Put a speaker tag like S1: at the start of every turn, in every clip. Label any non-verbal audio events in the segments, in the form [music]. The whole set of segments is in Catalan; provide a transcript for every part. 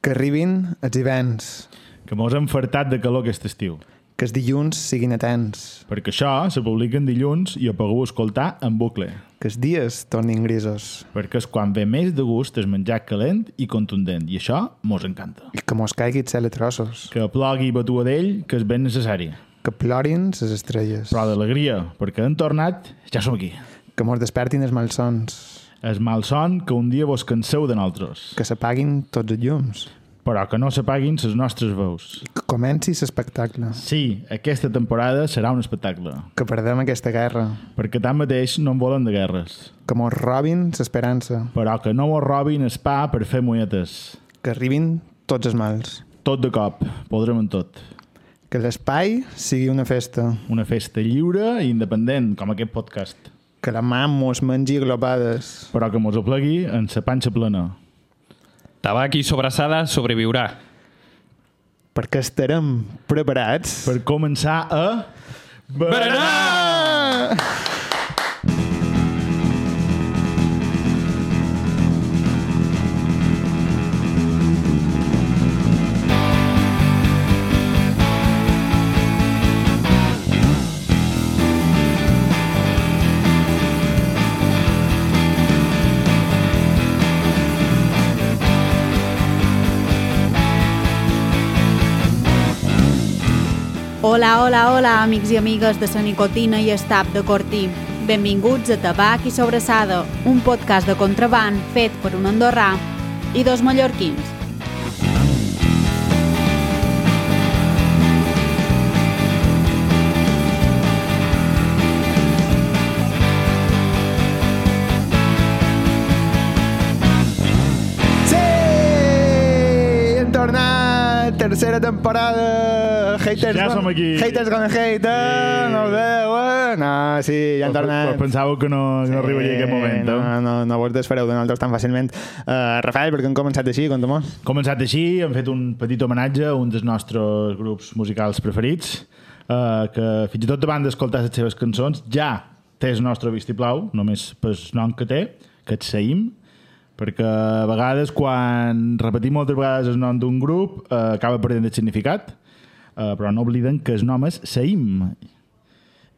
S1: que arribin els hiverns,
S2: que mos hem fartat de calor aquest estiu.
S1: que els dilluns siguin atents,
S2: Perquè això se publica en dilluns i ho podeu escoltar en bucle.
S1: que els dies tornin grisos
S2: Perquè és quan ve més de gust el menjar calent i contundent. I això mos encanta.
S1: i que mos caigui el cel a trossos,
S2: Que plogui i batua d'ell, que és ben necessari.
S1: que plorin les estrelles,
S2: Però d'alegria, perquè hem tornat, ja som aquí.
S1: que mos despertin els malsons,
S2: És mal son que un dia vos canseu de nosaltres,
S1: que s'apaguin tots els llums,
S2: però que no s'apaguin les nostres veus.
S1: que comenci l'espectacle,
S2: Sí, aquesta temporada serà un espectacle,
S1: que perdem aquesta guerra,
S2: perquè tanmateix no en volen de guerres,
S1: que mos robin l'esperança,
S2: però que no mos robin el pa per fer monyetes.
S1: que arribin tots els mals,
S2: Tot de cop, podrem en tot.
S1: que l'espai sigui una festa,
S2: Una festa lliure i independent, com aquest podcast,
S1: que la mà mos mengi globades,
S2: però que mos aplegui en sa panxa plena.
S3: Tabac i sobrassada sobreviurà.
S1: perquè estarem preparats
S2: Per començar a...
S3: Berenar!
S1: Ah!
S4: Hola, hola, hola, amics i amigues de la nicotina i estap de Cortí. Benvinguts a Tabac i Sobrassada, un podcast de contraband fet per un andorrà i dos mallorquins.
S1: Sí! Hem tornat! Tercera temporada! Haters
S2: Ja
S1: gone-
S2: som aquí.
S1: Haters gonna hate, eh?
S2: Sí.
S1: No el veuen? No, sí, ja hem tornat.
S2: Pensàveu que no, que no arribaria aquest moment.
S1: No,
S2: Eh?
S1: no, no vos desfareu de nosaltres tan fàcilment. Uh, Rafael, per què hem començat així? Conta-mos.
S2: començat així, hem fet un petit homenatge a un dels nostres grups musicals preferits, eh, que fins i tot davant d'escoltar les seves cançons ja té el nostre vistiplau, només pel nom que té, que et seïm, perquè a vegades quan repetim moltes vegades el nom d'un grup eh, acaba perdent el significat, eh, però no obliden que el nom és Seïm.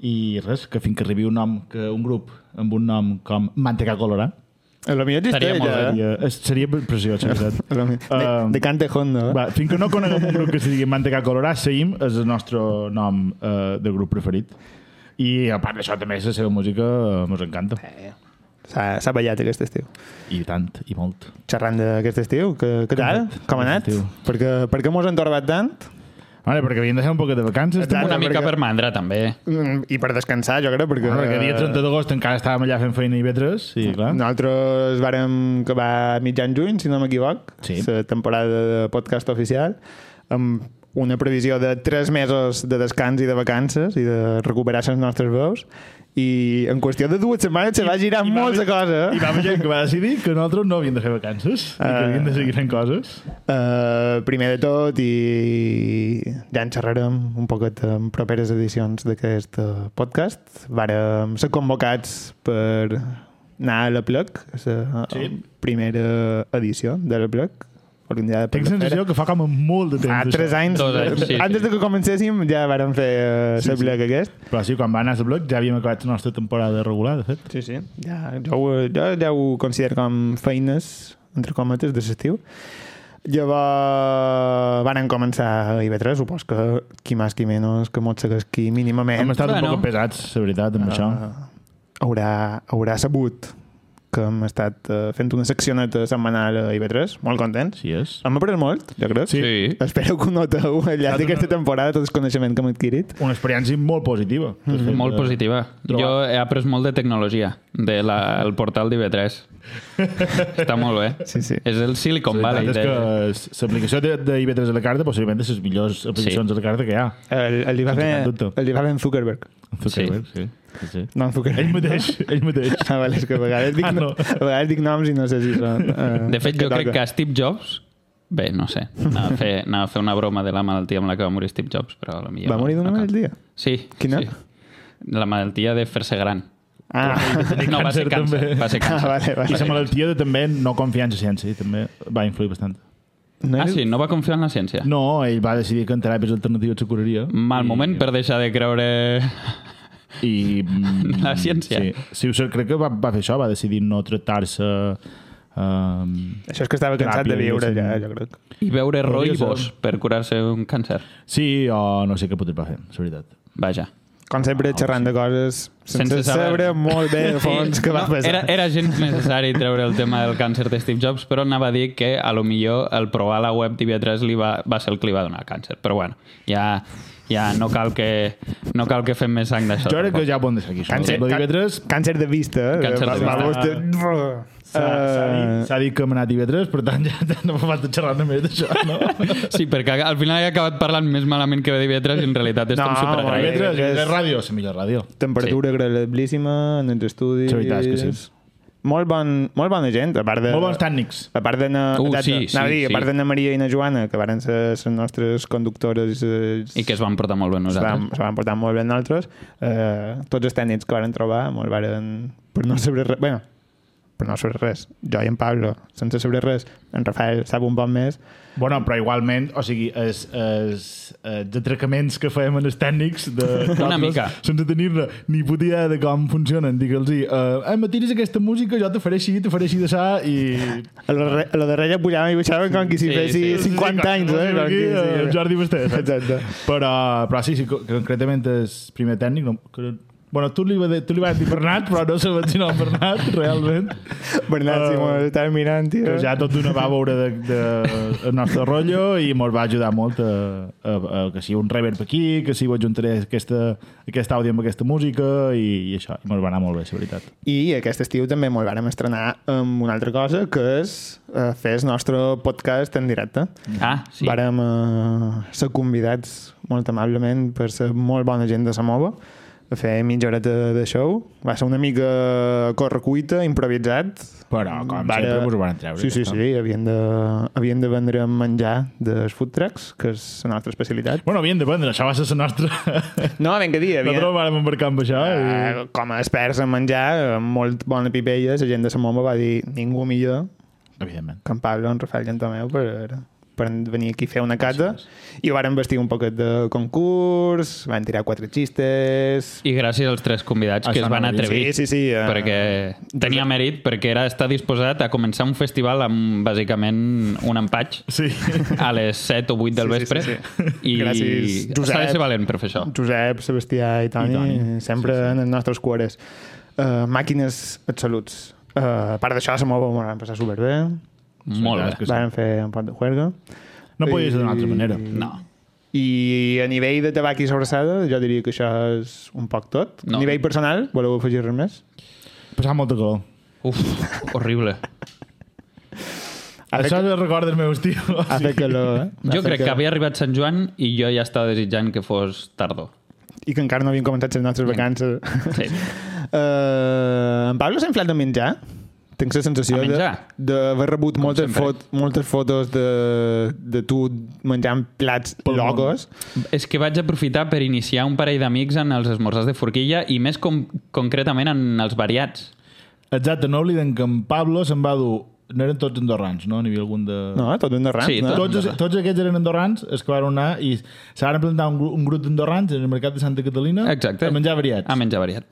S2: I res, que fins que arribi un nom que un grup amb un nom com Manteca Colorà,
S1: A lo millor
S3: Estaria
S1: existeix,
S3: molt bé.
S1: eh?
S2: seria, es- seria preciós, en veritat.
S1: A lo mi- De,
S2: Um,
S1: de Cante Hondo. eh?
S2: Va, fins que no coneguem un grup que se digui Manteca Colorà, Seïm és el nostre nom eh, de grup preferit. I a part d'això també la seva música eh, mos encanta.
S1: S'ha s'ha ballat aquest estiu.
S2: I tant, i molt.
S1: Xerrant d'aquest estiu, que, que tal?
S2: anat?
S1: Com ha anat?
S2: Estiu.
S1: Per què, per què mos hem torbat tant?
S2: Ara, perquè havíem de fer un poquet de vacances.
S1: Exacte.
S2: Exacte.
S3: Una mica
S1: perquè-
S3: per mandra, també.
S1: Mm, I per descansar, jo crec, perquè...
S2: Perquè el dia 30 d'agost encara estàvem allà fent feina i vetres, i clar. No.
S1: Nosaltres vàrem acabar mitjan juny, si no m'equivoc,
S2: Sí.
S1: la temporada de podcast oficial, amb una previsió de tres mesos de descans i de vacances i de recuperar les nostres veus i en qüestió de dues setmanes se va girar eh?
S2: i va
S1: molts de
S2: haver-
S1: coses.
S2: Hi va haver gent que va decidir que nosaltres no havíem de fer vacances, uh... i que
S1: Ah.
S2: havíem de seguir fent coses.
S1: Uh, primer de tot i ja en xerrarem un poquet en properes edicions d'aquest eh, podcast vàrem ser convocats per anar a la Plug la
S2: Sí.
S1: sí. primera edició de la Plug organitzada per
S2: Tinc
S1: la
S2: sensació que fa com molt de temps.
S1: Fa
S2: d'això.
S1: Ah, tres anys,
S3: Dos anys, sí,
S1: antes
S3: sí.
S1: de que comencéssim ja vàrem fer uh,
S2: Sí,
S1: la
S2: sí.
S1: Plug aquest
S2: Però sí, quan va anar a bloc ja havíem acabat la nostra temporada regular, de fet.
S1: Sí, sí. Ja, jo, ho- jo ja ho considero com feines, entre cometes, de l'estiu. Llavors van començar a IB3, supos que qui més qui menys, que mos segueix qui mínimament
S2: Hem estat un
S3: Bueno.
S2: poc pesats, la veritat,
S1: Ah.
S2: amb això.
S1: haurà, haurà sabut que hem estat eh, fent una seccioneta setmanal a IB3, molt contents.
S2: Sí, és.
S1: Hem après molt, jo crec.
S2: Sí.
S3: Sí.
S1: Espero que ho noteu al llarg d'aquesta temporada, tot el coneixement que hem adquirit.
S2: Una experiència molt positiva. de fet.
S3: Molt
S2: Eh,
S3: positiva.
S2: trobar-
S3: Jo he après molt de tecnologia del el portal d'IV3.
S2: [laughs]
S3: Està molt bé.
S1: Sí, sí.
S3: És el Silicon
S2: La
S3: Valley.
S2: veritat és que
S3: De...
S2: s- l'aplicació de, de IB3 a la carta possiblement és les millors aplicacions sí. a la carta que hi ha.
S1: El, el, li va
S2: Sense
S1: fer,
S2: cap dubte.
S1: el li va fer en Zuckerberg.
S2: Zuckerberg, sí. sí. sí, sí.
S1: No en Zuckerberg.
S2: Ell mateix, ell mateix.
S1: [laughs] Ah, vale, és que a vegades dic,
S2: Ah, no.
S1: no. a vegades dic noms i no sé si són... Uh,
S3: de fet, jo crec que a Steve Jobs... Bé, no sé. Anava a, fer, anava a fer una broma de la malaltia amb la que va morir Steve Jobs, però a la millor...
S1: Va morir d'una
S3: no cal.
S1: malaltia?
S3: Sí.
S1: Quina?
S3: Sí. La malaltia de fer-se gran.
S1: Ah,
S3: No, va ser
S2: càncer, també.
S3: càncer. Va ser
S1: ah,
S3: càncer.
S1: vale,
S2: I la
S1: vale.
S2: malaltia de també no confiança en ciència també va influir bastant.
S1: No
S3: Ah,
S1: era-
S3: sí, no va confiar en la ciència.
S2: No, ell va decidir que en teràpies alternatives se curaria.
S3: Mal moment per deixar de creure...
S2: I... mm,
S3: La ciència.
S2: Sí, sí ho sé, crec que va, va fer això, va decidir no tractar-se... Um,
S1: Això és que estava cansat de
S2: Teràpia,
S1: viure
S2: diguéssim.
S1: allà, jo crec.
S3: i veure
S2: Podria ser.
S3: roibos per curar-se un càncer.
S2: sí, o no sé què pot va fer, la veritat.
S3: Vaja.
S1: Com sempre, xerrant de coses sense,
S3: Sense saber.
S1: saber molt bé de fons
S3: Sí,
S1: que va
S3: no,
S1: passar.
S3: Era, era gens necessari treure el tema del càncer de Steve Jobs, però anava a dir que a lo millor el provar la web d'IV3 li va, va ser el que li va donar el càncer. Però bueno, ja, ja no, cal que, no cal que fem més sang d'això.
S2: Jo crec que
S3: tampoc.
S2: ja ho podem deixar aquí. Això.
S1: Càncer,
S2: Lo divendres
S1: cà- càncer de vista. eh?
S3: Càncer de
S1: Va- va
S3: vista.
S1: vostè-
S2: s'ha s'ha dit-
S1: Eh,
S2: s'ha dit que hem anat divendres, per tant [laughs] ja no fa falta xerrar només d'això, no?
S3: Sí, perquè al final he acabat parlant més malament que d'IV3 i en realitat estem
S1: No,
S3: no,
S1: molt
S3: superagraïts.
S1: bé.
S2: Divendres,
S1: és-
S2: és ràdio, la millor ràdio.
S1: Eh, Temperatura sí. agradabilíssima en els estudis.
S2: La veritat és que sí.
S1: Molt, bon, molt bona gent, a part de...
S2: Molt bons tècnics.
S1: a part d'Anna
S3: Uh,
S1: exacte,
S3: sí, sí,
S1: anava a dir,
S3: sí.
S1: a part d'Anna Maria i na Joana, que varen ser les nostres conductores i les-
S3: I que es van portar molt bé
S1: se van,
S3: nosaltres.
S1: se van portar molt bé amb nosaltres. Eh, tots els tècnics que varen trobar molt varen... Per no saber res... Bueno, per no saber res. Jo i en Pablo, sense saber res. En Rafael sap un bon més.
S2: Bueno, però igualment, o sigui, els, els, els atracaments que fèiem en els tècnics de,
S3: Una
S2: nosaltres,
S3: mica.
S2: sense tenir-ne ni puta idea de com funcionen, digue'ls eh, eh, me tiris aquesta música, jo te faré així, te faré així de sa i...
S1: A lo, re- a lo darrere pujàvem i baixàvem com que si
S3: Sí,
S1: sí, fessi
S3: sí,
S1: sí, 50 anys, eh? Com
S2: Aquí,
S1: que sí.
S2: eh, Jordi
S1: [laughs]
S2: Bastés.
S1: Exacte.
S2: Però, però sí, sí, co- concretament el primer tècnic... No, que, bueno, tu li, va dir- tu li vas dir Bernat, però no se va dir no Bernat, realment.
S1: Bernat, si
S2: Eh,
S1: m'ho estàs mirant, tio.
S2: Que ja tot d'una va veure de, de, el nostre rotllo i mos va ajudar molt a, a, a, que sigui un reverb aquí, que si ho adjuntaré aquesta, aquest àudio amb aquesta música i, i això. I mos va anar molt bé, la veritat.
S1: I aquest estiu també molt vàrem estrenar amb una altra cosa, que és eh, fer el nostre podcast en directe.
S3: Ah, sí.
S1: Sí. Vàrem eh, ser convidats molt amablement per ser molt bona gent de Samova a fer mitja horeta de show. Va ser una mica a correcuita, improvisat.
S2: Però, com
S1: Vara-
S2: sempre, mos ho van treure.
S1: Sí, sí,
S2: ja està.
S1: sí. Havien de, havien de vendre menjar dels food trucks, que és la nostra especialitat.
S2: Bueno, havien de prendre, això va ser la nostra...
S1: No, ben que dia.
S2: Nosaltres vàrem embarcar amb això. i...
S1: Eh, com a experts en menjar, amb molt bona pipella, la gent de Samoma va dir ningú millor
S2: Evidentment.
S1: que en Pablo, en Rafael i en Tomeu per, per venir aquí a fer una cata i ho varen vestir un poquet de concurs, van tirar quatre xistes...
S3: I gràcies als tres convidats que
S2: Això
S3: es van
S2: anava a dir,
S3: atrevir.
S1: Sí, sí, sí. eh,
S3: perquè tenia mèrit perquè era estar disposat a començar un festival amb bàsicament un empatx
S2: Sí.
S3: a les 7 o 8
S1: Sí,
S3: del
S1: sí,
S3: vespre
S1: sí,
S3: i
S1: Gràcies, Josep.
S3: s'ha de ser valent per fer això
S1: Josep, Sebastià i Toni,
S2: I
S1: I
S2: Toni.
S1: sempre sí, sí. en els nostres cuores. Uh, màquines absoluts. Uh, a part d'això, se m'ho van passar superbé.
S3: molt
S2: Sí,
S3: bé
S2: que sí.
S1: Varen fer un pot de juerga.
S2: No podia ser d'una altra manera.
S3: no
S1: I a nivell de tabac i sobrassada, jo diria que això és un poc tot.
S3: No.
S1: A nivell personal, voleu afegir res més?
S2: Passava molta calor.
S3: Uf, horrible
S1: Ha fet,
S2: Això que... recorda els meus
S3: [laughs]
S2: tios.
S1: ha fet calor, eh? Ha
S3: jo
S1: fet
S3: crec que havia arribat Sant Joan i jo ja estava desitjant que fos tardor
S1: i que encara no havien començat les nostres vacances.
S3: Mm.
S1: [laughs]
S3: sí.
S1: Uh, en Pablo s'ha inflat de menjar? Tinc la sensació
S3: A
S1: de-
S3: menjar?
S1: d'haver rebut moltes,
S3: sempre.
S1: fot, moltes fotos de, de tu menjant plats
S2: Pel món.
S1: locos.
S3: és que vaig aprofitar per iniciar un parell d'amics en els esmorzars de forquilla i més com concretament en els variats
S2: Exacte, no oblidem que en Pablo se'n va dur... No eren tots andorrans, no? N'hi havia algun de...
S1: No, tot un derram.
S3: Sí,
S1: no?
S3: tot.
S2: Tots, tots aquests eren andorrans, es que van anar i se van plantar un, gru- un grup d'andorrans en el mercat de Santa Catalina
S3: exacte
S2: a menjar variats.
S3: a menjar variat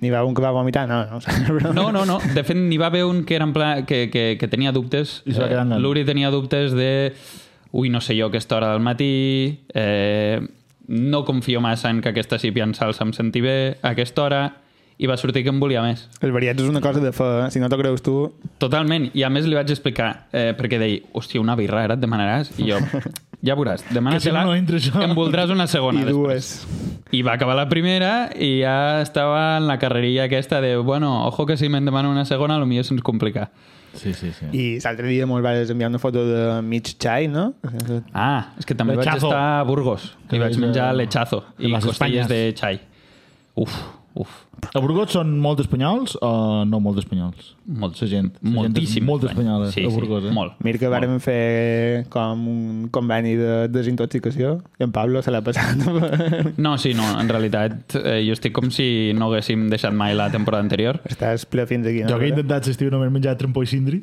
S1: N'hi va un que va vomitar, no. no, però...
S3: No,
S1: [laughs]
S3: no, no. De fet, n'hi va haver un que, era en pla, que, que, que tenia dubtes. Eh,
S2: I se va quedar andant.
S3: L'Uri tenia dubtes de... Ui, no sé jo, aquesta hora del matí... Eh, no confio massa en que aquesta sípia en salsa em senti bé a aquesta hora i va sortir que em volia més.
S1: Els variats és una cosa de fer, eh? si no t'ho creus tu...
S3: Totalment. I a més li vaig explicar, eh, perquè deia, hòstia, una birra ara et demanaràs? I jo, ja veuràs,
S2: [laughs] Que
S3: demana-te-la,
S2: si no, no entra això."
S3: em voldràs una
S1: I
S3: segona. després."
S1: dues.
S3: I va acabar la primera i ja estava en la carrerilla aquesta de, bueno, ojo que si me'n demano una segona, potser se'ns complica.
S2: Sí, sí, sí. I...
S1: I l'altre dia molt vas enviar una foto de mig xai, no?
S3: Ah, és que també
S2: Lechazo.
S3: vaig estar a Burgos
S2: Que
S3: i vaig
S2: és,
S3: menjar
S2: eh,
S3: lechazo
S2: de
S3: i
S2: les Espanyes.
S3: costelles de xai. Uf, uf.
S2: A Burgos són molt espanyols o no molt espanyols?
S3: Molt,
S2: La gent. La
S3: Moltíssim.
S2: Gent és molt
S3: espanyol.
S2: espanyola
S3: sí,
S2: a Burgos,
S3: sí,
S2: eh?
S3: Molt.
S1: Mira que vàrem fer com un conveni de desintoxicació i en Pablo se l'ha passat
S2: [laughs]
S3: No, sí, no, en realitat eh, jo estic com si no haguéssim deixat mai la temporada anterior.
S1: Estàs ple fins aquí. No?
S3: [laughs]
S2: Jo que he intentat l'estiu només menjar trampó i cindri.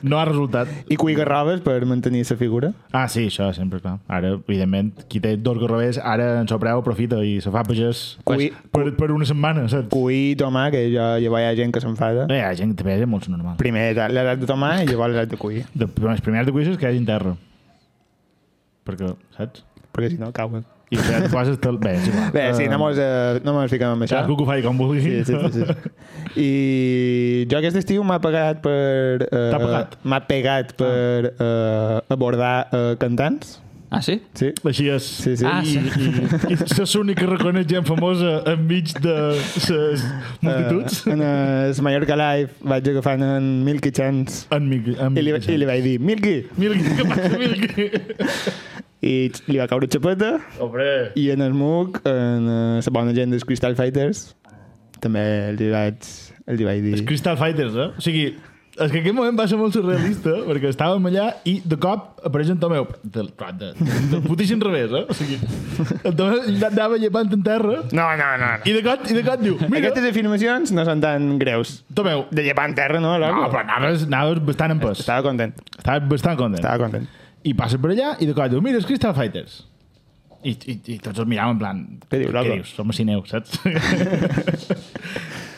S2: No ha resultat.
S1: I cuir garrobes per mantenir la figura.
S2: Ah, sí, això sempre es fa. Ara, evidentment, qui té dos garrobers, ara en sopreu, aprofita i se fa pagès
S1: Cui-
S2: per, per una setmana, saps?
S1: Cuir i tomar, que ja, ja hi ha gent que s'enfada.
S2: No, hi ha gent que també és molt normal.
S1: Primer edat- l'edat de tomar i llavors l'edat de cuir.
S2: De, però els primers de cuisses que hagin terra. Perquè, saps?
S1: Perquè si no, cauen.
S2: I si et poses... Te... Bé, és igual.
S1: Bé, sí, no mos, eh, no mos fiquem amb això.
S2: Cadascú que ho faci com vulgui.
S1: Sí, sí, sí, sí. I jo aquest estiu m'ha pagat per... Eh,
S2: T'ha pagat?
S1: M'ha pegat per eh, abordar eh, cantants.
S3: Ah, sí?
S1: [laughs] Sí.
S2: [laughs] Així és.
S1: Sí, sí.
S3: Ah,
S2: I, i, i és l'únic que reconeix gent famosa enmig de les multituds.
S1: Eh, en el Mallorca Live vaig agafant en Milky Chance
S2: En Miqui. En
S1: i li, i li vaig dir Milky
S2: Milky, [laughs] què passa, Milky?
S1: i li va caure xapeta
S2: Hombre.
S1: i en el MUC en eh, la bona gent dels Crystal Fighters també li vaig, li vaig dir
S2: Els Crystal Fighters, eh? O sigui, és que aquell moment va ser molt surrealista, perquè estàvem allà i de cop apareix en Tomeu. De, clar, de, de putíssim revés, eh? O sigui, en Tomeu anava llepant en terra
S1: no, no, no, no.
S2: i de cop, i de cop diu, mira,
S1: aquestes afirmacions no són tan greus
S2: Tomeu.
S1: de llepar en terra, no?
S2: No,
S1: loco?
S2: però anaves, anaves bastant en pes.
S1: Ah. estava content
S2: Estava bastant content.
S1: estava content
S2: I passa per allà i de cop diu, mira, els Crystal Fighters. I, i, i tots els miràvem en plan...
S1: Què diu, loco?
S2: Què dius? Som a cineu, saps? [laughs]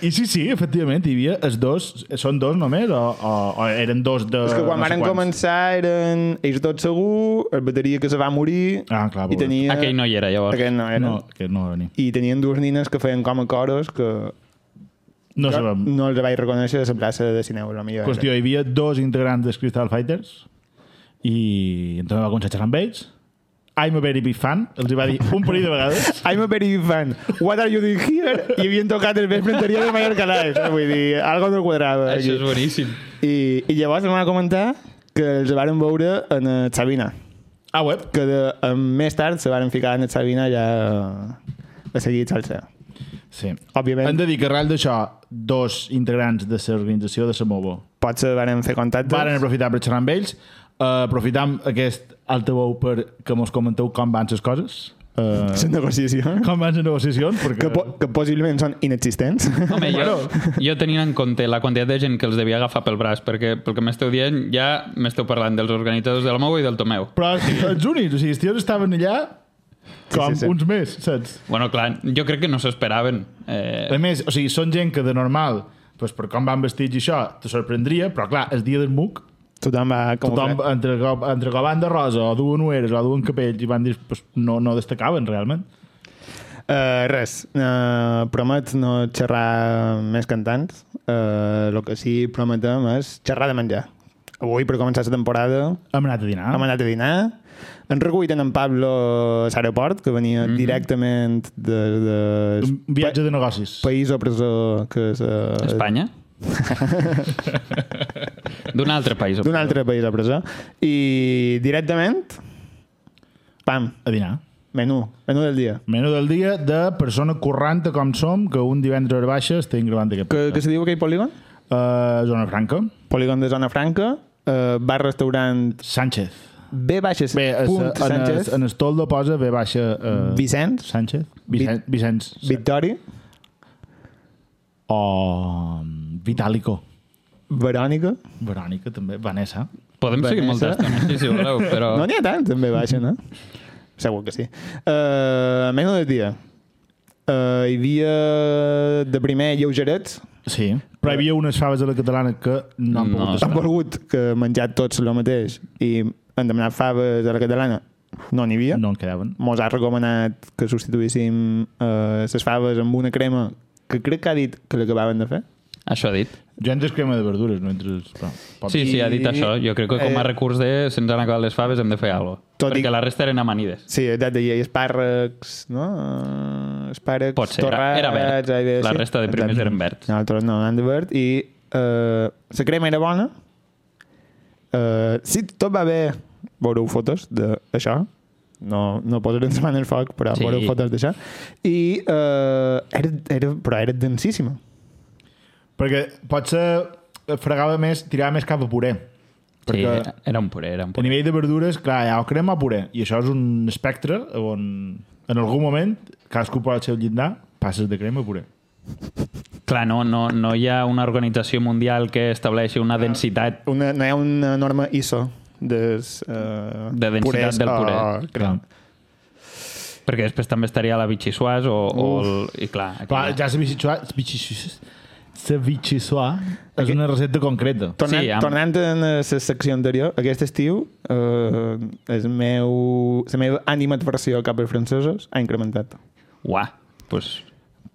S2: I sí, sí, efectivament, hi havia els dos, són dos només, o, o, o eren dos de...
S1: és que quan
S2: Ah, no sé
S1: varen
S2: quants?
S1: començar eren ells tots segur, el bateria que se va morir
S2: Ah, clar,
S1: i
S2: pobret.
S1: tenia...
S3: Aquell no hi era, llavors.
S1: Aquell no era.
S2: No, que no va venir.
S1: i tenien dues nines que feien com a coros que
S2: No
S1: jo
S2: sabem.
S1: no els vaig reconèixer de la plaça de Cineu, la millor.
S2: Qüestió, hi havia dos integrants dels Crystal Fighters i en Tomeu va començar a xerrar amb ells. I'm a very big fan, els hi va dir un parell de vegades.
S1: [laughs] I'm a very big fan. What are you doing here? I havien tocat el vespre anterior de Mallorca Live. saps? Vull dir, algo no quadrava. Aquí.
S3: Això és boníssim.
S1: I, I llavors em van comentar que els varen veure en el Sabina.
S2: Ah, web.
S1: Que de, em- més tard se varen ficar en el Sabina ja eh, a seguir salsa.
S2: Sí. Hem
S1: Òbviament,
S2: de dir que arrel d'això, dos integrants de l'organització de Samovo
S1: potser varen fer contactes.
S2: varen aprofitar per xerrar amb ells. Uh, aprofitam aquest altaveu per que mos comenteu com van les coses. Uh,
S1: Les Ah. negociacions.
S2: com van les negociacions, perquè...
S1: Que, po que possiblement són inexistents. [laughs]
S3: Home, jo, jo tenint en compte la quantitat de gent que els devia agafar pel braç, perquè pel que m'esteu dient ja m'esteu parlant dels organitzadors del Mou i del Tomeu.
S2: Però
S1: [laughs]
S2: els únics, o sigui, els tios estaven allà com
S1: sí, sí.
S2: uns més, saps?
S3: Bueno, clar, jo crec que no s'esperaven. Eh,
S2: A més, o sigui, són gent que de normal, doncs per com van vestits i això, te sorprendria, però clar, el dia del MUC,
S1: Tothom va... Com
S2: tothom entre, cop- entre que van de rosa o duen ueres o duen capells i van dir, doncs no, no destacaven realment.
S1: Uh, res, uh, promet no xerrar més cantants. El uh, que sí prometem és xerrar de menjar. Avui, per començar la temporada,
S2: Hem anat a dinar.
S1: hem anat a dinar. Han recollit en, en Pablo a l'aeroport, que venia mm -hmm. directament de, de
S2: Un viatge de negocis.
S1: país o presó que és... eh, [laughs]
S3: Espanya? D'un altre país.
S1: D'un altre país o presó. I directament, pam,
S2: A dinar.
S1: menú, menú del dia.
S2: Menú del dia de persona corranta com som, que un divendres baixa estem gravant aquest
S1: Que, que se diu aquell polígon?
S2: Uh, Zona Franca.
S1: Polígon de Zona Franca, uh, bar-restaurant
S2: Sánchez.
S1: B baixes
S2: Bé, es,
S1: punt
S2: eh, en,
S1: eh, Sánchez,
S2: es, en Estoldo posa B baixa... Uh,
S1: Vicenç,
S2: Sánchez? Vicen, Vicenç.
S1: Victori,
S2: O um, Vitalico.
S1: Verònica.
S2: Verònica també, Vanessa.
S3: Podem seguir molta
S1: Vanessa.
S3: estona, sí, si voleu, però...
S1: eh? No n'hi ha tant, també baixa, no? Segur que sí. Uh, menys del dia. Uh, hi havia de primer lleugerets.
S2: Sí. Però hi havia unes faves de la catalana que no han
S3: No.
S2: pogut
S1: Han
S2: estar.
S1: volgut que menjat tots el mateix i han demanat faves a la catalana. No n'hi havia.
S2: No en quedaven.
S1: Mos ha recomanat que substituíssim eh, les faves amb una crema que crec que ha dit que l'acabaven de fer.
S3: Això ha dit.
S2: Jo entres crema de verdures, no entres... Però, pot-
S3: Sí, sí, ha dit
S1: I-
S3: això. Jo crec que com
S1: eh,
S3: a recurs de se'ns han acabat les faves hem de fer alguna cosa.
S1: Tot i-
S3: Perquè la resta eren amanides.
S1: Sí, exacte, i espàrrecs, no? Eh, Espàrrecs,
S3: Pot ser, era, era verd.
S1: torrats, aibe,
S3: La
S1: sí.
S3: resta de primers eren verds.
S1: No, altres no, eren de verd. I eh, la crema era bona. Eh, si tot va bé, veureu fotos d'això. No, no posaré ens en [laughs] el foc, però
S3: Sí.
S1: sí. veureu fotos d'això. I eh, era, era, però era densíssima.
S2: Perquè potser fregava més, tirava més cap a puré.
S3: Sí,
S2: Perquè
S3: era un puré, era
S2: a
S3: un puré.
S2: nivell de verdures, clar, hi ha o crema o puré. I això és un espectre on en algun moment cadascú pot al seu llindar passes de crema a puré.
S3: clar, no, no, no hi ha una organització mundial que estableixi una densitat
S1: Una, no hi ha una norma ISO des, uh,
S3: De densitat del puré.
S2: Clar.
S3: perquè després també estaria la Vichysuas o, o el, i clar, aquí
S2: Clar,
S3: hi ha-
S2: ja Savichisua és una recepta concreta.
S1: Tornant,
S3: Sí,
S1: sí,
S3: amb-
S1: amb... tornant a la secció anterior, aquest estiu eh, el meu, la meva animadversió cap als francesos ha incrementat.
S3: uà, pues,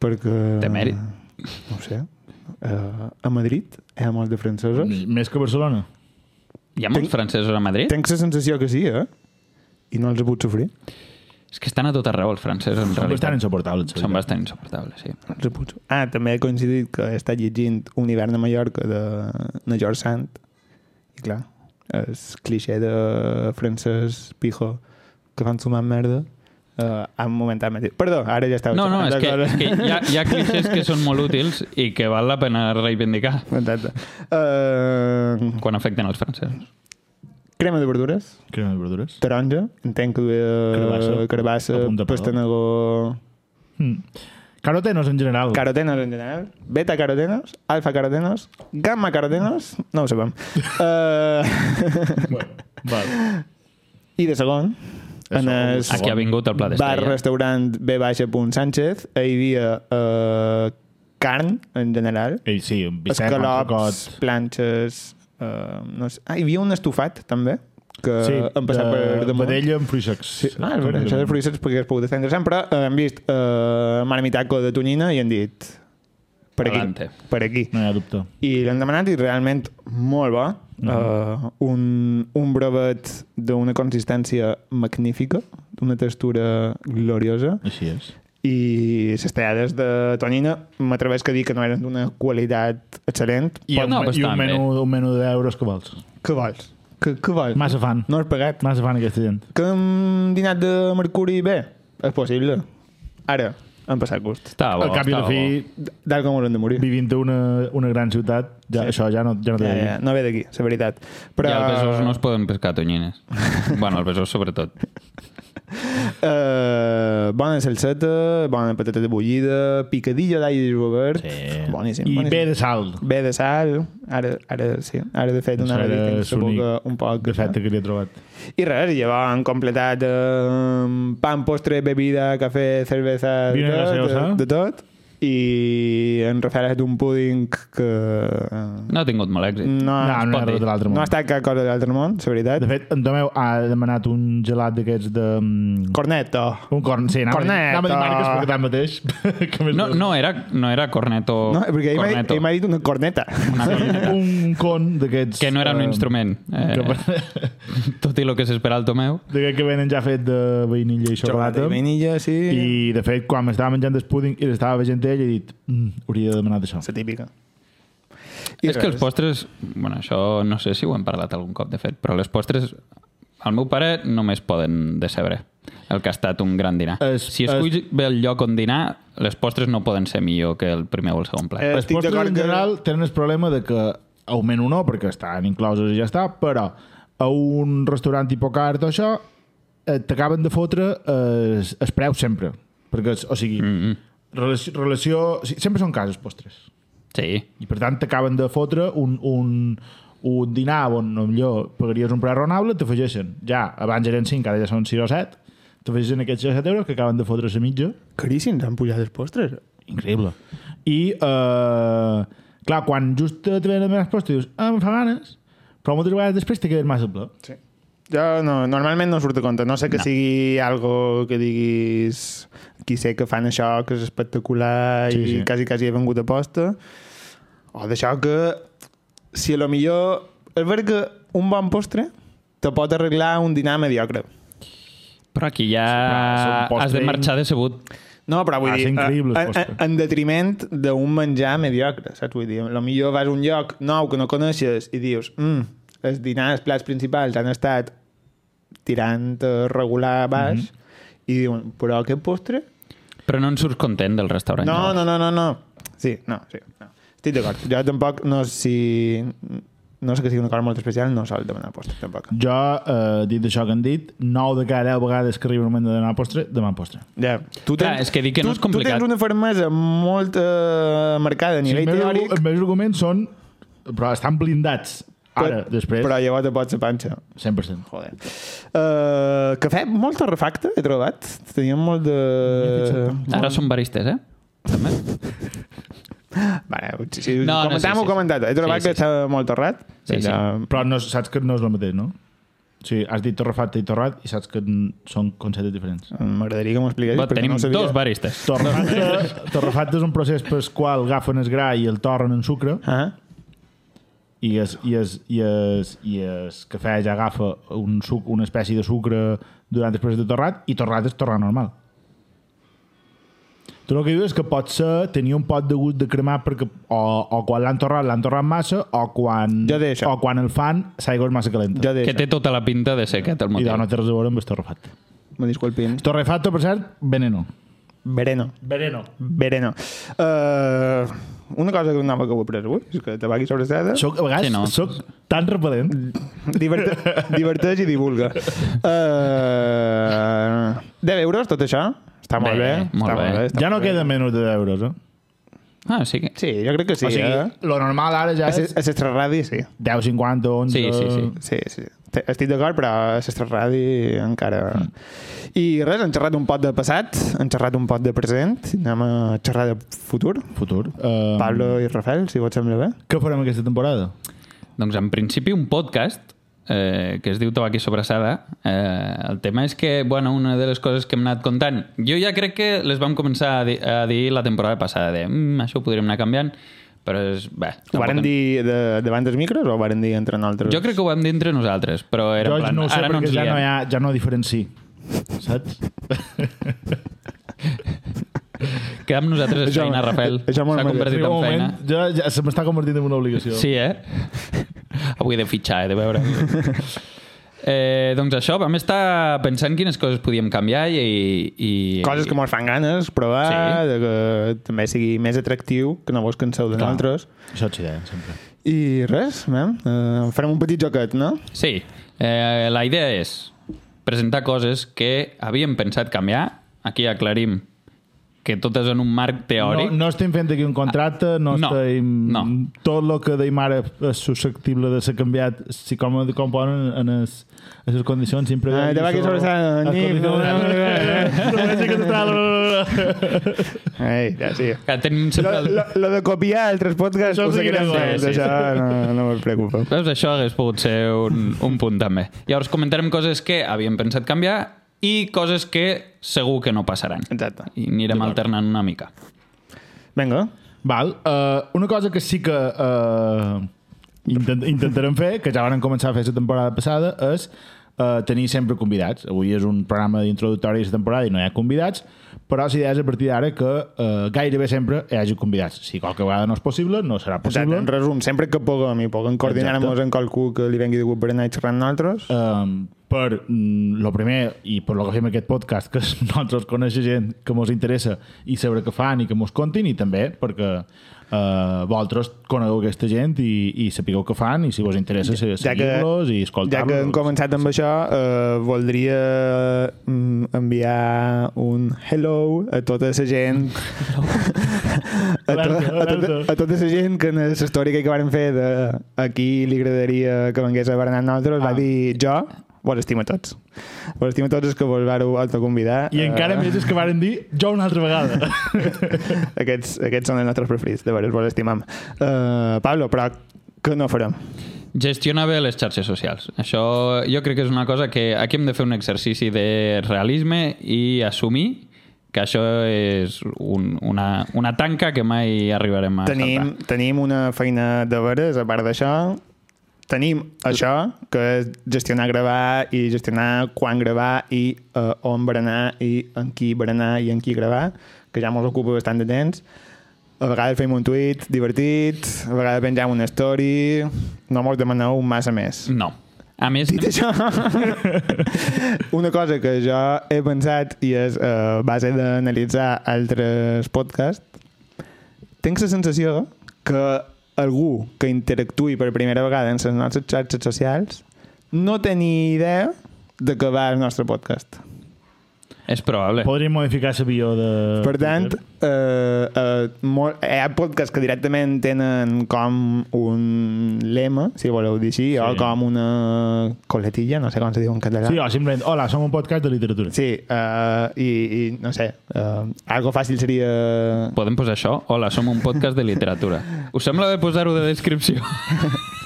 S1: Perquè...
S3: Té mèrit.
S1: No ho sé. Eh, a Madrid hi ha molts de francesos.
S2: Més que Barcelona.
S3: hi ha molts
S1: Tinc-
S3: francesos a Madrid?
S1: Tenc la sensació que sí, eh? I no els he pogut sofrir.
S3: És que estan a tot arreu els francesos, en
S2: Són bastant
S3: realitat.
S2: insoportables.
S1: eh?
S3: Són bastant insoportables, sí.
S1: No els he pogut... Ah, també he coincidit que he estat llegint Un hivern a Mallorca de, de George Sand. I clar, el cliché de francès pijo que fan sumar merda eh, han momentat mateix. Perdó, ara ja estava...
S3: No, no,
S1: xerrant
S3: és
S1: de
S3: que,
S1: coses.
S3: és que hi, ha,
S1: [laughs]
S3: hi ha clixés que són molt útils i que val la pena reivindicar
S1: Exacte. Eh,
S3: quan afecten els francesos.
S1: crema de verdures,
S2: Crema de verdures.
S1: taronja, entenc que eh, duia
S2: Carabassa.
S1: carbassa,
S2: A punt de pala.
S1: pastanegó...
S2: Mm. Carotenos en general.
S1: Carotenos en general, beta carotenos, alfa carotenos, gamma carotenos, no ho
S2: [laughs]
S1: sabem. Eh,
S2: Bueno,
S1: [laughs]
S2: val.
S1: I de segon,
S2: De
S1: en
S2: segon,
S1: el
S2: de
S3: Aquí ha vingut el plat
S1: bar
S3: estrella.
S1: restaurant b.sánchez hi havia eh, carn en general,
S2: Ei, sí, un bicep,
S1: escalops,
S2: entrecot.
S1: planxes... Eh, no sé. Ah, hi havia un estofat també que
S2: Sí,
S1: em passava eh, per damunt.
S2: vedella amb fruits secs.
S1: Sí. Ah, és veritat, això de fruits secs perquè es pogut estar interessant, però eh, hem vist eh, marmitaco de tonyina i han dit per aquí,
S3: Adelante.
S1: per aquí.
S2: No hi ha dubte.
S1: I l'han demanat i realment molt bo. Mm -hmm. uh, un, un brevet d'una consistència magnífica, d'una textura gloriosa
S2: Així és.
S1: i les tallades de tonyina m'atreveix que dir que no eren d'una qualitat excel·lent.
S2: I, un,
S3: No,
S2: i un,
S3: eh? bastant
S2: menú, un menú de euros que vols.
S1: Què vols? Què, què vols?
S2: Massa fan.
S1: No has pagat.
S2: Massa fan aquesta gent.
S1: Que hem dinat de mercuri bé? És possible. Ara, han passat gust.
S3: Està bo,
S2: Al cap i a la
S3: està bo.
S2: fi,
S1: D'alt com hauran de morir.
S2: vivint a una, una gran ciutat, ja,
S1: Sí.
S2: això ja no, ja no t'he
S1: Ja,
S2: de dir.
S1: ja, no ve d'aquí, la veritat. Però...
S3: I al Besòs no es poden pescar tonyines. bueno, al Besòs sobretot.
S1: Eh, bona salseta, bona patata bullida, picadilla d'all robert.
S2: Sí.
S1: Boníssim,
S2: I
S1: boníssim.
S2: bé de sal.
S1: Bé de sal, ara, ara sí, ara de fet
S2: Això
S1: anava a dir
S2: era
S1: que
S2: l'únic
S1: s'apuca un poc.
S2: Defecte que li he trobat.
S1: I res, i llavors han completat eh, pan, postre, bebida, cafè, cervesa,
S2: Vino
S1: de,
S2: gaseosa.
S1: de, de tot. I en Rafael ha fet un púding que... eh,
S3: No ha tingut molt èxit.
S1: No,
S2: No,
S1: no,
S2: no
S3: pot
S2: era
S3: dir.
S2: de l'altre
S1: no
S2: món.
S1: ha estat cap cosa de l'altre món, la veritat.
S2: De fet, en Tomeu ha demanat un gelat d'aquests de... mm,
S1: Corneto.
S2: Un corn, sí, anava,
S1: Corneta.
S2: A dir, anava a dir marques perquè tanmateix... [laughs] que més
S3: No, no, era, no era corneto.
S1: No, perquè ell m'ha-
S3: corneto.
S1: ell m'ha dit una corneta.
S3: Oh, Una
S1: [laughs]
S3: corneta.
S2: Un con d'aquests...
S3: Que no era un
S2: eh,
S3: instrument. Eh,
S2: [laughs] Que,
S3: [laughs] tot i el que s'espera al Tomeu.
S2: de que venen ja fet de vainilla i xocolata.
S1: Xocolata i vainilla, sí.
S2: I, de fet, quan m'estava menjant el púding i l'estava veient ell, he dit, mm, hauria de demanar això.
S1: La típica.
S3: I és que els postres... Bueno, això no sé si ho hem parlat algun cop, de fet, però les postres, al meu pare, només poden decebre el que ha estat un gran dinar.
S2: Es-
S3: si
S2: es-
S3: esculls bé el lloc on dinar, les postres no poden ser millor que el primer o el segon plat.
S1: Eh,
S2: Les
S1: estic
S2: postres
S1: d'acord
S2: en
S1: que-
S2: general tenen el problema de que augment o no, perquè estan incloses i ja està, però a un restaurant hipocart o això eh, t'acaben de fotre eh, es, es preu sempre. Perquè, és- o sigui, mm
S3: Mm-hmm.
S2: -hmm. relació, relació... o sigui, Sempre són cases postres.
S3: Sí.
S2: I per tant t'acaben de fotre un, un, un dinar on no millor pagaries un preu raonable, t'afegeixen. Ja, abans eren 5, ara ja són 6 o 7, t'afegeixen aquests 6 o 7 euros que acaben de fotre a mitja.
S1: Caríssims han pujat els postres.
S2: Increïble. I, eh, clar, quan just te venen més postres, dius, ah, em fa ganes, però moltes vegades després te quedes massa ple.
S1: Sí. Jo no, normalment no surt de compte. No sé que no. sigui algo que diguis qui sé que fan això, que és espectacular
S2: Sí,
S1: sí, i
S2: sí.
S1: sí. quasi, quasi he vengut a posta. O d'això que si a lo millor... És veritat que un bon postre te pot arreglar un dinar mediocre.
S3: Però aquí
S2: Ah,
S3: ja
S2: és un
S3: has de
S2: postre
S3: marxar decebut.
S1: No, però vull
S2: Ah,
S1: dir,
S2: és increïble,
S1: eh,
S2: el
S1: en,
S2: postre.
S1: en detriment d'un menjar mediocre, saps? Vull dir, lo millor vas a un lloc nou que no coneixes i dius, mm, els dinars, els plats principals han estat tirant eh, regular a baix
S2: Mhm.
S1: mm -hmm. i diuen, però aquest postre?
S3: Però no en surts content del restaurant.
S1: No,
S3: llavors.
S1: no, no, no, no. Sí, no, sí. No. Estic d'acord. Jo tampoc no sé si... no sé que sigui una cosa molt especial, no sol demanar postres, tampoc.
S2: Jo, eh, dit això que han dit, 9 de cada 10 vegades que arriba el moment de demanar postre, demà postre.
S1: Ja. Tu
S3: Clar, és que dir que no
S1: tu-
S3: és complicat.
S1: Tu tens una fermesa molt eh, marcada a
S2: Sí,
S1: nivell
S2: els,
S1: sí,
S2: meus,
S1: teòric,
S2: argu- els meus arguments són... Però estan blindats. Ara,
S1: però-
S2: després,
S1: però llavors et pots a panxa.
S2: 100%.
S1: Joder. Uh, cafè molt refacte, he trobat. Teníem molt de...
S3: Ara són baristes, eh? També.
S1: Vale, si, si
S3: No,
S1: no, comentam, no, sí,
S3: no, sí, sí,
S1: ho comentat. He trobat sí, sí,
S3: Sí, sí,
S1: que estava molt torrat.
S3: Sí, sí.
S2: Però no, saps que no és el mateix, no? O sigui, has dit torrefacte i torrat i saps que n- són conceptes diferents.
S1: M'agradaria que m'ho expliquessis.
S3: Va,
S1: perquè
S3: tenim
S1: no ho sabia.
S3: dos baristes.
S2: Torrefacte,
S1: [laughs]
S2: torrefacte és un procés pel qual agafen el gra i el torren en sucre
S1: Ah,
S2: i es, i es, i es, i es cafè ja agafa un suc, una espècie de sucre durant el procés de torrat i torrat és torrar normal. Tu el que dius és que pot ser tenir un pot de gust de cremar perquè o, o quan l'han torrat l'han torrat massa o quan,
S1: Jo deia això.
S2: o quan el fan s'aigua és massa calenta.
S1: jo
S3: Que
S1: deixo.
S3: té tota la pinta de ser aquest el
S2: I
S3: motiu.
S2: no té res a veure amb el torrefacte.
S1: Me disculpin.
S2: Torrefacto, per cert, veneno.
S1: Vereno.
S2: Veneno.
S1: Vereno. Uh, una cosa que anava que ho he après avui, és que tabaqui sobre seda,
S2: Soc, a vegades,
S3: Sí,
S2: sí,
S3: no.
S2: no. soc tan repelent.
S1: diverte, diverteix i divulga. Uh, 10 euros, tot això? Està molt bé.
S3: Bé, molt
S1: està
S3: bé.
S1: està
S2: Ja no
S1: molt bé.
S2: queda menys de 10 euros, eh?
S3: Ah, sí que...
S1: Sí, jo crec que sí.
S2: o sigui,
S1: eh?
S2: lo normal ara ja
S1: A
S2: és
S1: ses- A l'Estraradi, sí.
S2: 10, 50, 11...
S3: Sí, sí, sí.
S1: Sí, sí. Te- Estic d'acord, però a l'Estraradi encara... I res, hem xerrat un pot de passat, hem xerrat un pot de present, anem a xerrar de futur.
S2: Futur. Uh,
S1: Pablo i Rafael, si vos sembla bé.
S2: Què farem aquesta temporada?
S3: Doncs en principi un podcast eh, que es diu Tabaqui Sobrassada. Eh, el tema és que, bueno, una de les coses que hem anat contant, jo ja crec que les vam començar a dir, a dir la temporada passada, de mm, això ho podríem anar canviant, però és... Bé,
S1: Ho
S3: tampoc
S1: varen
S3: en-
S1: dir de, davant dels micros o ho varen dir entre nosaltres?
S3: Jo crec que ho vam dir entre nosaltres, però era
S2: jo
S3: en plan,
S2: no ho sé,
S3: ara no
S2: perquè
S3: ens
S2: ja,
S3: liem.
S2: no hi ha, ja no diferenci. Saps?
S3: Quedam nosaltres és
S1: Això-
S3: feina, Rafael.
S1: això molt
S3: S'ha
S1: bé.
S3: convertit
S2: Arriba
S3: en
S2: un
S3: feina.
S2: moment, jo, ja, se m'està convertint en una obligació.
S3: Sí, eh? [laughs] Avui he de fitxar, he de veure. Eh, doncs això, vam estar pensant quines coses podíem canviar i... i
S1: Coses que mos fan ganes, provar,
S3: Sí.
S1: sí. de que també sigui més atractiu, que no vos canseu de
S2: Clar.
S1: nosaltres.
S2: Això et deien, sempre.
S1: I res, mem, eh, farem un petit joquet, no?
S3: Sí, eh, la idea és presentar coses que havíem pensat canviar. Aquí aclarim que totes en un marc teòric.
S2: No, no estem fent aquí un contracte, no,
S3: No,
S2: estem...
S3: no.
S2: Tot el que deim ara és susceptible de ser canviat si com, com poden en les, en les condicions imprevistes.
S1: Ah, te va aquí sobre esa-
S2: Les
S1: [laughs]
S2: [laughs] condicions-
S1: Ei, ja sí.
S3: Que tenim
S1: Lo,
S3: sempre...
S1: lo,
S3: El...
S1: lo de copiar altres podcasts
S2: Això
S1: ho
S2: sí que
S1: seguirem
S2: no
S1: fent,
S2: és, sí, sí.
S1: això no, no us preocupeu.
S3: Veus, això hagués pogut ser un, un punt també. Llavors comentarem coses que havíem pensat canviar i coses que segur que no passaran.
S1: Exacte.
S3: I anirem alternant una mica.
S1: Vinga.
S2: Val, uh, una cosa que sí que uh, intent intentarem fer, que ja van començar a fer la temporada passada, és uh, tenir sempre convidats. Avui és un programa d'introductori de la temporada i no hi ha convidats, però la idea és a partir d'ara que uh, gairebé sempre hi hagi convidats. Si qualque vegada no és possible, no serà
S1: Exacte,
S2: possible.
S1: en resum, sempre que puguem i puguem coordinar-nos amb qualcú que li vengui de gust per anar xerrant nosaltres,
S2: um, per mm, lo primer i per lo que fem aquest podcast que [laughs] nosaltres conèixer gent que mos interessa i saber què fan i que mos contin i també perquè uh, vosaltres conegueu aquesta gent i, i sapigueu què fan i si vos interessa ja,
S1: ja que,
S2: seguir-los
S1: ja que
S2: i
S1: hem
S2: escoltar-los
S1: començat amb això, eh, voldria mm, enviar un hello a tota la gent [laughs] a, to, a, tota, a tota la gent que en la història que varen fer de a qui li agradaria que vengués a Bernat nosaltres
S2: Ah.
S1: va dir jo vos estimo a tots. Vos estimo a tots els que vos vareu autoconvidar.
S2: i
S1: Eh,
S2: encara més és que varen dir jo una altra vegada
S1: [laughs] Aquests, aquests són els nostres preferits, de veres, vos estimam. Uh, Pablo, però que no farem?
S3: Gestionar bé les xarxes socials. Això jo crec que és una cosa que aquí hem de fer un exercici de realisme i assumir que això és un, una, una tanca que mai arribarem a
S1: Tenim,
S3: saltar.
S1: tenim una feina de veres, a part d'això. Tenim això, que és gestionar gravar i gestionar quan gravar i uh, on berenar i en qui berenar i en qui gravar, que ja mos ocupa bastant de temps. A vegades fem un tuit divertit, a vegades pengem una story, no mos demaneu massa més.
S3: No. A més,
S1: Dit això, [laughs] una cosa que jo he pensat i és eh, a base d'analitzar altres podcasts, tinc la sensació que algú que interactui per primera vegada en les nostres xarxes socials no tenir idea de que va el nostre podcast.
S3: És probable.
S2: Podríem modificar la bio de...
S1: Per tant,
S2: Ah, Twitter.
S1: eh, eh, mol, hi ha podcasts que directament tenen com un lema, si voleu dir així, sí. o com una coletilla, no sé com se diu en català.
S2: Sí, o simplement, hola, som un podcast de literatura.
S1: Sí, eh, i, i no sé, eh, algo fàcil seria...
S3: Podem posar això? Hola, som un podcast de literatura. Us sembla bé posar-ho de descripció?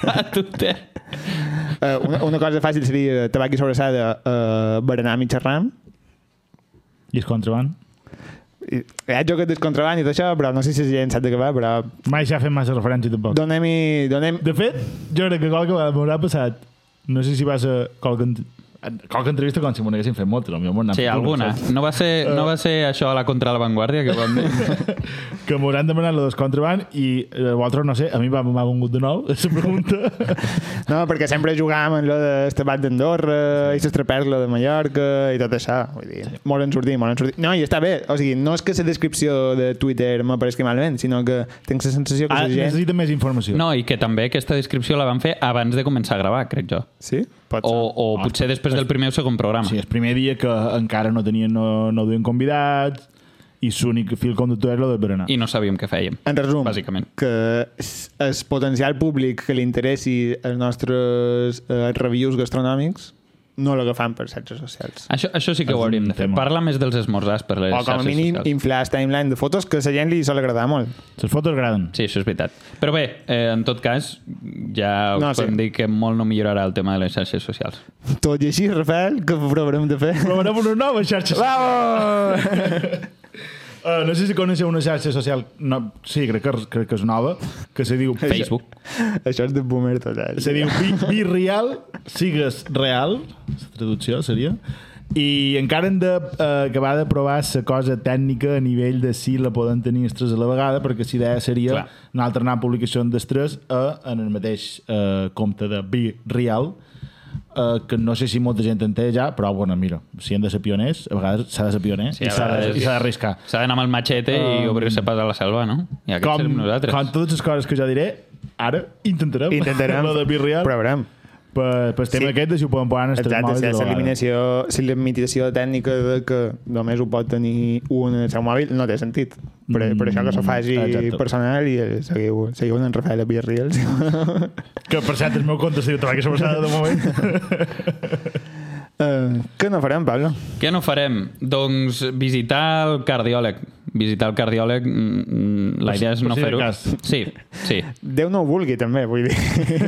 S3: A Twitter.
S1: Eh, una, una cosa fàcil seria tabac i sobrassada, eh, berenar mig xerrant.
S2: I és contraban.
S1: I- Hi ha joc de contraban i tot això, però no sé si la gent sap de què va, però
S2: Mai s'ha fet massa referència, tampoc.
S1: Doncs donem-hi... Donem...
S2: De fet, jo crec que qualque vegada m'haurà passat, no sé si vas a qualque, en- qualque entrevista com si m'ho n'haguessin fet moltes, potser m'ho n'han
S3: Sí,
S2: fet una,
S3: alguna.
S2: saps?
S3: No va ser, no va ser això a la contra la vanguardia que vam dir?
S2: que m'hauran demanat la descontraband i eh, vosaltres, no sé, a mi m'ha m'ha vengut de nou [laughs] la pregunta.
S1: No, perquè sempre jugàvem en lo d'Estabat d'Andorra i l'estreperla de Mallorca i tot això. Vull dir, sí. molt en sortim, molt en sortim. No, i està bé. O sigui, no és que la descripció de Twitter m'apareixi malament, sinó que tinc la sensació que
S2: Ah,
S1: la gent...
S2: necessita més informació.
S3: No, i que també aquesta descripció la van fer abans de començar a gravar, crec jo.
S1: Sí? Pot
S3: O,
S1: ser.
S3: o potser després del primer o segon programa.
S2: Ah. Sí, el primer dia que encara no tenien, no, no duien convidats i l'únic fil conductor era el del berenar.
S3: I no sabíem què fèiem.
S1: En resum,
S3: Bàsicament.
S1: que s- el potencial públic que li interessi els nostres eh, reviews gastronòmics no l'agafam per xarxes socials.
S3: Això, això sí que ho
S2: És
S3: hauríem
S2: un
S3: de fer.
S2: tema. Oh,
S3: Parla més dels esmorzars per les
S1: O com a
S3: xarxes
S1: mínim
S3: socials.
S1: inflar el timeline de fotos que a la gent li sol agradar molt.
S2: Les fotos agraden.
S3: Sí, això és veritat. Però bé, eh, en tot cas, ja us
S1: No,
S3: no,
S1: sí.
S3: podem dir que molt no millorarà el tema de les xarxes socials.
S1: Tot i així, Rafael, que provarem de fer?
S2: Provarem una nova xarxa.
S1: Bravo!
S2: [laughs] Uh, no sé si coneixeu una xarxa social... No, sí, crec que, crec que és nova, que se diu...
S3: Facebook.
S1: Això és de boomer total.
S2: Se diu Be, Be Real, sigues real, la traducció seria, i encara hem d'acabar de provar la cosa tècnica a nivell de si la poden tenir els tres a la vegada, perquè la idea seria
S3: Clar.
S2: Clar. anar alternant publicacions dels tres a, en el mateix eh, compte de Be Real, eh, que no sé si molta gent en té ja, però bueno, mira, si hem de ser pioners, a vegades s'ha de ser pioner
S3: Sí,
S2: i
S3: a
S2: s'ha de-
S3: vegades-
S2: i s'ha d'arriscar. Um,
S3: S'ha d'anar amb el matxete i obrir-se pas a la selva, no? I aquest
S2: Com,
S3: serem nosaltres.
S2: com totes les coses que jo diré, ara intentarem,
S1: Intentarem.
S2: [laughs] lo de Be Real.
S1: Provarem.
S2: per, per
S1: Sí.
S2: tema sí. aquest de si ho poden posar en els tres
S1: Exacte,
S2: mòbils
S1: si
S2: de la vegada.
S1: l'eliminació, si la limitació tècnica de que només ho pot tenir un en el seu mòbil no té sentit. Per,
S3: Mm,
S1: per això que s'ho faci
S2: exacte.
S1: personal i eh, seguiu, seguiu en Rafael [laughs] Villarreal.
S2: que per cert el meu compte s'hi troba que sobressada de moment
S1: [laughs] uh, què no farem, Pablo?
S3: Què no farem? Doncs visitar el cardiòleg. Visitar el cardiòleg, mm, mm, la
S2: Per si-
S3: idea és
S2: per
S3: no
S2: si de
S3: fer-ho.
S2: cas.
S3: Sí, sí.
S1: Déu no ho vulgui, també, vull
S3: Eh.
S1: dir.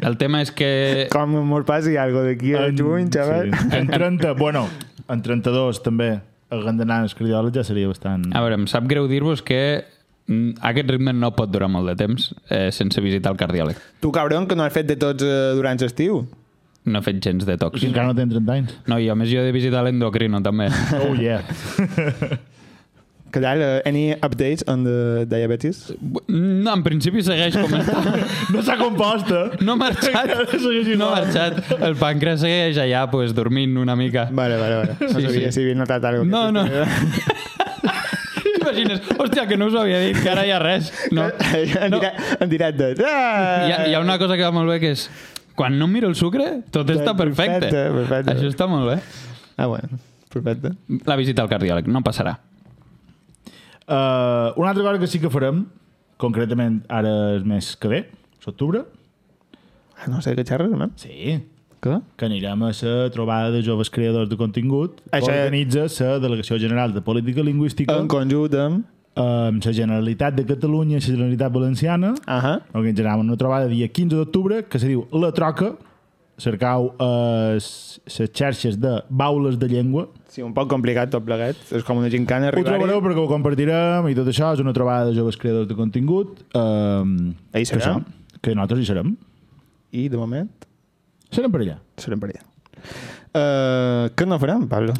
S3: El tema és que...
S1: [laughs] Com mos passi algo d'aquí a juny, xaval.
S2: sí. en 30 bueno en 32 també agandanant els cardiòlegs ja seria bastant
S3: Mm. A veure, em sap greu dir-vos que mm, aquest ritme no pot durar molt de temps eh, sense visitar el cardiòleg.
S1: Tu, cabron, que no has fet de tots eh, durant l'estiu.
S3: No he fet gens de
S2: o
S3: tocs.
S2: sigui, encara no tenen 30 anys
S3: No, i a més jo he de visitar l'endocrino, també.
S2: oh yeah
S1: Que tal? eh, any updates on the diabetes?
S3: No, en principi segueix com està.
S2: [laughs] no s'ha compost eh?
S3: No ha marxat.
S2: Encara segueix igual.
S3: No ha marxat. El pancreas segueix allà, pues, dormint una mica.
S1: Vale, vale, vale. No
S3: Sí,
S1: sabia
S3: sí.
S1: si havia notat alguna cosa.
S3: No, no. [laughs] T'imagines? Hòstia, que no us ho havia dit, que ara hi ha res.
S1: [laughs]
S3: No.
S1: en,
S3: no.
S1: directe, en directe. Ah!
S3: Hi, ha, hi ha una cosa que va molt bé, que és... Quan no miro el sucre, tot està
S1: Doncs
S3: perfecte.
S1: Perfecte, eh, perfecte.
S3: Això està molt bé.
S1: Ah, bueno. Perfecte.
S3: La visita al cardiòleg, no passarà.
S2: uh, una altra cosa que sí que farem concretament ara el mes que ve l'octubre
S1: Ah, no sé què xerres, no?
S2: sí
S1: Què?
S2: que anirem a la trobada de joves creadors de contingut
S1: Això-
S2: que organitza la Delegació General de Política Lingüística
S1: En conjunt amb...
S2: amb la Generalitat de Catalunya i la Generalitat Valenciana
S1: Ahà.
S2: organitzarem una trobada dia 15 d'octubre que se diu La Troca cercau eh, s- les xarxes de baules de llengua
S1: Sí, un poc complicat tot plegat. És com una gincana
S2: ho
S1: arribar-hi.
S2: trobareu perquè ho compartirem i tot això és una trobada de joves creadors de contingut eh,
S1: Ahí
S2: que,
S1: serem.
S2: això, que nosaltres hi serem
S1: I, de moment,
S2: serem per allà
S1: serem per allà. Uh, què no farem, Pablo?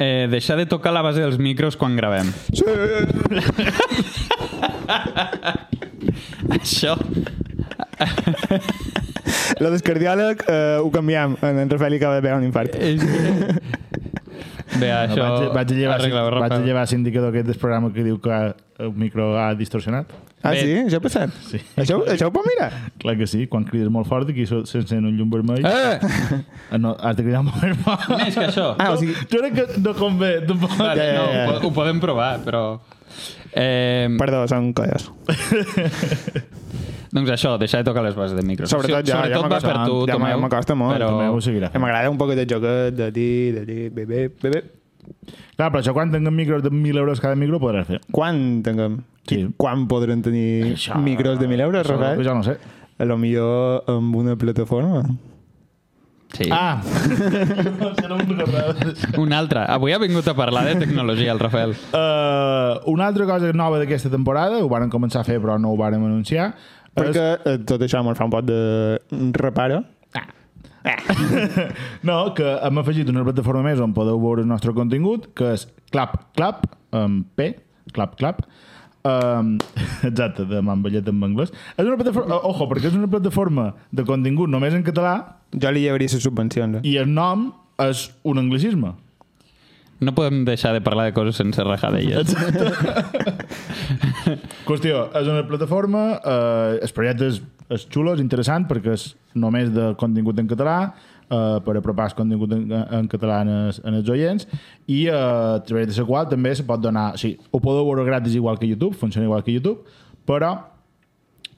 S3: Eh, deixar de tocar la base dels micros quan gravem.
S1: Sí.
S3: Això...
S1: Lo del cardiòleg eh, ho canviem. En, en Rafael li acaba de veure un infart.
S3: És... que- també a
S2: No,
S3: això.
S2: vaig, vaig, a llevar,
S3: arregla-ho,
S2: vaig a
S3: Rafael.
S2: llevar l'indicador aquest del programa que diu que el micro ha distorsionat.
S1: Ah,
S3: Bé.
S1: sí? Això ha passat?
S2: Sí.
S1: Això, això ho pot mirar?
S2: Clar que sí, quan crides molt fort aquí so- s'encén un llum vermell.
S3: Eh!
S2: Ah, No, has de cridar molt fort.
S3: Més que això.
S1: Ah, o sigui...
S2: Jo crec que no convé, tampoc.
S3: Vale,
S1: ja,
S3: no,
S1: ja, ja.
S3: ho po- Ho podem provar, però... Eh,
S1: Perdó, són colles.
S3: doncs això, deixar de tocar les bases de micro.
S1: Sobretot ja, ja
S3: sobretot va per
S1: m'acosta-
S3: tu,
S1: ja
S3: Tomeu.
S1: m'acosta molt,
S3: Però...
S2: Tomeu ho seguirà.
S1: Que M'agrada un poc aquest joguet de dir, de dir, bebé, bebé.
S2: Clar, però això quan tinguem micros de 1.000 euros cada micro ho podràs fer.
S1: Quan tinguem?
S2: Sí.
S1: Sí. Quan podrem tenir
S2: Això-
S1: això, micros de 1.000 euros,
S2: Això
S1: Rafael?
S2: jo no sé.
S1: A lo millor amb una plataforma.
S3: Sí.
S2: Ah!
S3: [laughs]
S2: Serà un rebrot.
S3: Un altre. Avui ha vingut a parlar de tecnologia, el Rafael.
S2: Uh, una altra cosa nova d'aquesta temporada, ho varen començar a fer però no ho varen anunciar,
S1: Perquè eh, tot això me'n fa un pot de reparo.
S2: no, que hem afegit una plataforma més on podeu veure el nostre contingut, que és Clap Clap, amb P, Clap Clap, Um, [laughs] exacte, de Mamballet en anglès. És una plataforma, ojo, perquè és una plataforma de contingut només en català
S1: Jo li llevaria les subvencions. Eh?
S2: i el nom és un anglicisme.
S3: No podem deixar de parlar de coses sense rajar d'elles.
S2: Qüestió, és una plataforma, eh, el projecte és, és xulo, és interessant, perquè és només de contingut en català, eh, per apropar el contingut en, en català en, els- en els oients, i eh, a través de la qual també se pot donar... O sigui, ho podeu veure gratis igual que YouTube, funciona igual que YouTube, però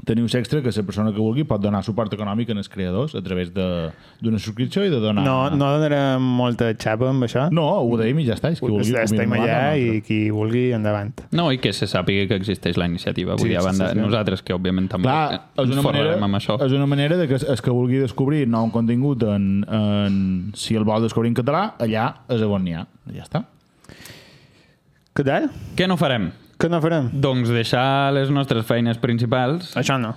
S2: teniu l'extra que la persona que vulgui pot donar suport econòmic en els creadors a través de- d'una subscripció i de donar...
S1: No, no donarem molta xapa amb això.
S2: no ho deim i ja està, és qui vulgui.
S1: Estem
S2: opina
S1: allà
S2: malament,
S1: i qui vulgui, endavant.
S3: No, i que se sàpiga que existeix la iniciativa. Vull
S1: Sí,
S3: dir, a
S1: sí,
S3: banda,
S1: sí, sí.
S3: nosaltres, que òbviament també
S2: Clar, és
S3: ens
S2: una, manera,
S3: forrarem eh, amb això.
S2: és una manera de que es que vulgui descobrir nou contingut en, en, si el vol descobrir en català, allà és a on n'hi ha. Ja està.
S1: Què tal?
S3: Què no farem?
S1: Què no farem?
S3: Doncs deixar les nostres feines principals
S1: Això no.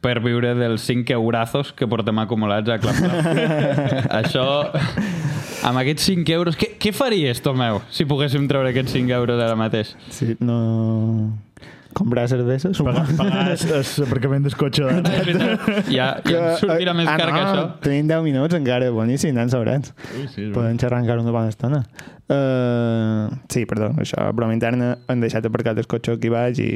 S3: per viure dels 5 eurazos que portem acumulats a Clap
S1: [laughs]
S3: Clap. Això, amb aquests 5 euros... Què, què faries, Tomeu, si poguéssim treure aquests 5 euros ara mateix?
S1: Sí, no... Comprar cervesa, suposo.
S2: Pagar
S1: [laughs]
S2: [laughs] l'aparcament del [laughs] cotxe. De...
S3: Ja, ja em sortirà més
S1: ah,
S3: car
S1: no,
S3: que això.
S1: Tenim 10 minuts encara, boníssim, anant sobrats.
S2: Sí, sí, és
S1: Podem xerrar encara una bona estona. Uh, sí, perdó, això, broma interna, han deixat aparcat el cotxe aquí baix i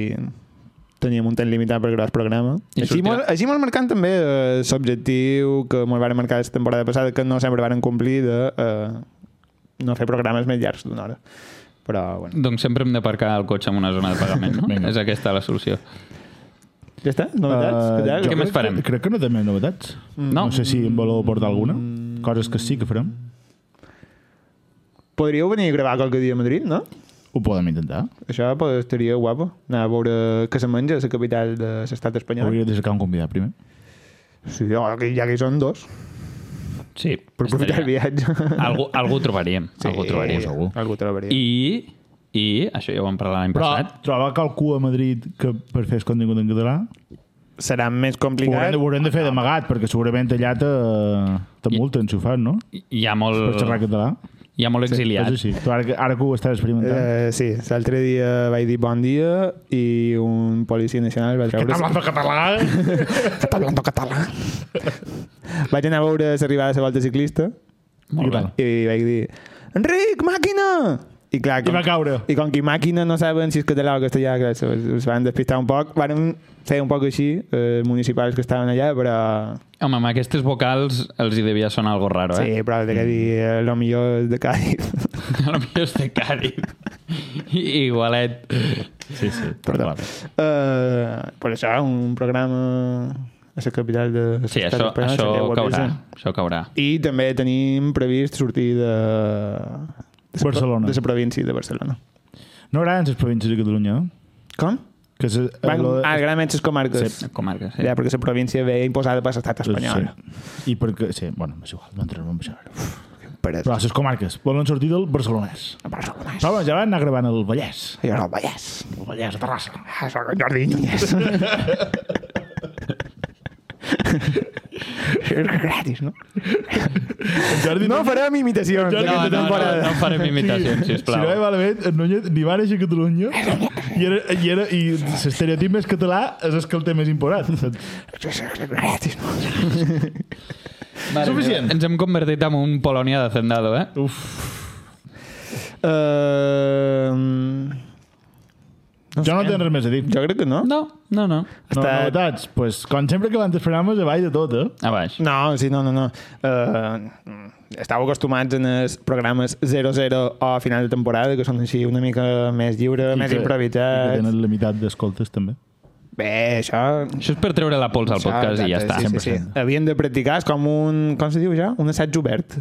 S1: teníem un temps limitat per gravar el programa.
S3: I
S1: Així
S3: sortirà.
S1: molt, així molt marcant també eh, l'objectiu que molt varen marcar la temporada passada, que no sempre varen complir de eh, no fer programes més llargs d'una hora. Però, bueno,
S3: Doncs sempre hem d'aparcar el cotxe en una zona de pagament, no?
S2: Vinga.
S3: És aquesta la solució.
S1: ja està, novetats?
S2: Eh,
S1: Uh,
S2: jo
S3: Què
S1: tal?
S3: més
S2: crec-
S3: farem?
S2: Crec que no tenim novetats. No
S3: No.
S2: sé si en voleu portar alguna. Coses que sí que farem.
S1: Podríeu venir a gravar qualque dia a Madrid, no?
S2: Ho podem intentar.
S1: Això pues, estaria guapo, anar a veure què se menja a la capital de l'estat espanyol.
S2: Hauria de cercar un convidat primer.
S1: Sí, ja que, ja que hi són dos,
S3: Sí.
S1: per aprofitar el
S3: estaria-
S1: viatge.
S3: Algú, algú trobaríem. Sí. Algú trobaríem.
S2: segur.
S1: Algú trobaria.
S3: I, I, això ja ho vam parlar l'any
S2: Però
S3: passat,
S2: trobar qualcú a Madrid que per fer el contingut en català
S1: Serà més
S2: ho haurem,
S1: complicat.
S2: de, ho haurem de fer d'amagat perquè segurament allà te, te multen si ho fas, no?
S3: hi ha
S2: Per xerrar
S3: molt,
S2: català.
S3: hi ha molt exiliat.
S2: Això sí, tu ara, que- ara que ho estàs experimentant.
S1: Eh, sí, l'altre dia vaig dir bon dia i un policia nacional va treure...
S2: català?
S1: Que [laughs] està hablando català. vaig anar a veure l'arribada de la volta ciclista
S2: I
S3: Molt bé.
S2: tal.
S1: i vaig dir Enric, màquina! I clar,
S2: I va caure.
S1: I com que màquina no saben si és català o castellà, clar, se, es van despistar un poc. Van fer un poc així, eh, municipals que estaven allà, però...
S3: Home, amb aquestes vocals els hi devia sonar algo raro, eh?
S1: Sí, però de que dir, eh, lo millor és de Cádiz.
S3: [laughs] A lo millor és de Cari. Igualet.
S2: Sí, sí.
S1: Perdó. Eh, per això, un programa a la capital de
S3: Sí,
S1: l'estat
S3: això,
S1: espanyol
S3: això
S1: seria
S3: caurà.
S1: guapíssim.
S3: Això caurà.
S1: I també tenim previst sortir de... de la-
S2: Barcelona.
S1: De la província de Barcelona.
S2: No agraden les províncies de Catalunya, eh?
S1: Com?
S2: que se,
S1: Van,
S2: lo de-
S1: ah, agraden les comarques.
S2: Sí.
S3: Comarca, sí.
S1: Ja, perquè la província ve imposada per l'estat espanyol.
S2: Sí. I perquè... Sí, bueno, és igual, no entrem en això.
S1: Però,
S2: Però les comarques volen sortir del barcelonès.
S1: Barcelona.
S2: Però bueno, ja van anar gravant el Vallès.
S1: Jo no, Vallès.
S2: El Vallès, a Terrassa.
S1: Ah, Soc en Jordi [laughs] Núñez. És gratis, no?
S2: En Jordi,
S1: No farem imitacions.
S2: Jordi,
S3: No,
S1: d'aquesta
S3: no, no,
S1: temporada.
S3: no farem imitacions,
S2: Si no hi
S3: sisplau.
S2: va bé, en Núñez ni va néixer a Catalunya i, era, i, era, i l'estereotip més català és el que el té més imposat.
S1: És gratis, no?
S3: Vale,
S2: Suficient.
S3: Ens hem convertit en un Polònia de Zendado, eh?
S2: Uf.
S1: Eh,
S2: Jo no tinc res més a dir.
S1: jo crec que no.
S3: No, no, no.
S2: No,
S1: Està-
S2: novetats, pues, com sempre que van dels programes, avall de tot, eh?
S3: A baix.
S1: No, sí, no, no, no. Uh, estàveu acostumats en els programes 0-0 o a final de temporada, que són així una mica més lliure,
S2: I
S1: més
S2: que- i Que
S1: improvisats.
S2: tenen la meitat d'escoltes, també.
S1: Bé, això...
S3: Això és per treure la pols al podcast i ja està.
S1: Sí, sí, sí. Havien de practicar, és com un... Com se diu ja? Un assaig obert.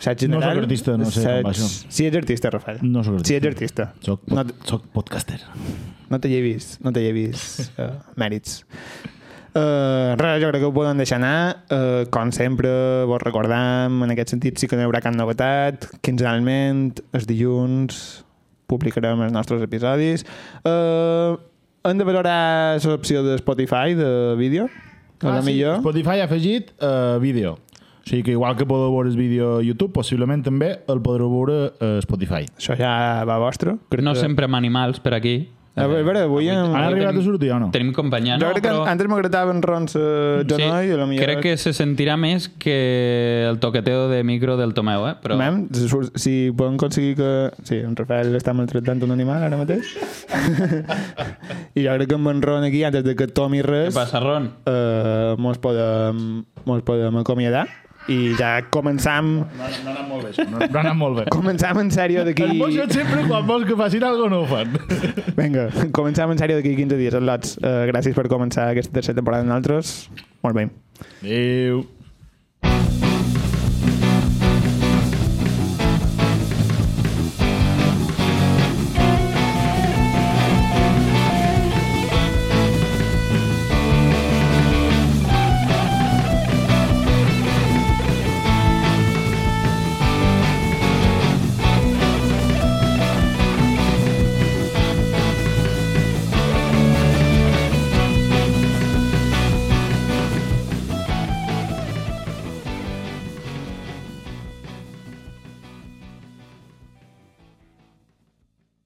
S1: Assaig
S2: No soc
S1: general.
S2: artista, no sé com va això.
S1: Si ets artista, Rafael.
S2: No soc
S1: Si ets
S2: artista.
S1: artista.
S2: Soc,
S1: No,
S2: pod soc podcaster.
S1: no te llevis, no te llevis uh, mèrits. Uh, res, jo crec que ho podem deixar anar. Uh, com sempre, vos recordam, en aquest sentit sí que no hi haurà cap novetat. Quinzenalment, els dilluns, publicarem els nostres episodis. Uh, hem de valorar l'opció de Spotify de vídeo, que ah, la millor.
S2: Spotify ha afegit uh, vídeo. O sigui que igual que podeu veure el vídeo a YouTube, possiblement també el podreu veure a Spotify.
S1: Això ja va vostre. Crec
S3: No
S1: que-
S3: sempre amb animals per aquí.
S1: A veure, avui... Hem...
S2: Han arribat
S3: tenim-
S2: a sortir o no?
S3: Tenim companyia.
S1: Jo
S3: No,
S1: crec que
S3: però...
S1: antes m'agradaven rons eh, genoll, i la millor...
S3: Crec que se sentirà més que el toqueteo de micro del Tomeu, eh? Però...
S1: Mem, si surt- si podem aconseguir que... Sí, en Rafael està maltractant un animal ara mateix. [laughs] I jo crec que amb en Ron aquí, antes de que tomi
S3: Què
S1: res,
S3: passa, Ron?
S1: eh, mos, podem, mos podem acomiadar. I ja començam...
S2: No, no ha anat molt bé. això. No, no ha anat
S1: [laughs]
S2: molt bé.
S1: Començam en sèrio d'aquí...
S2: Els moixos sempre quan vols que facin alguna cosa no ho fan.
S1: [laughs] Vinga, començam en sèrio d'aquí 15 dies, al·lots. Eh, gràcies per començar aquesta tercera temporada amb nosaltres. Molt bé.
S2: Adéu.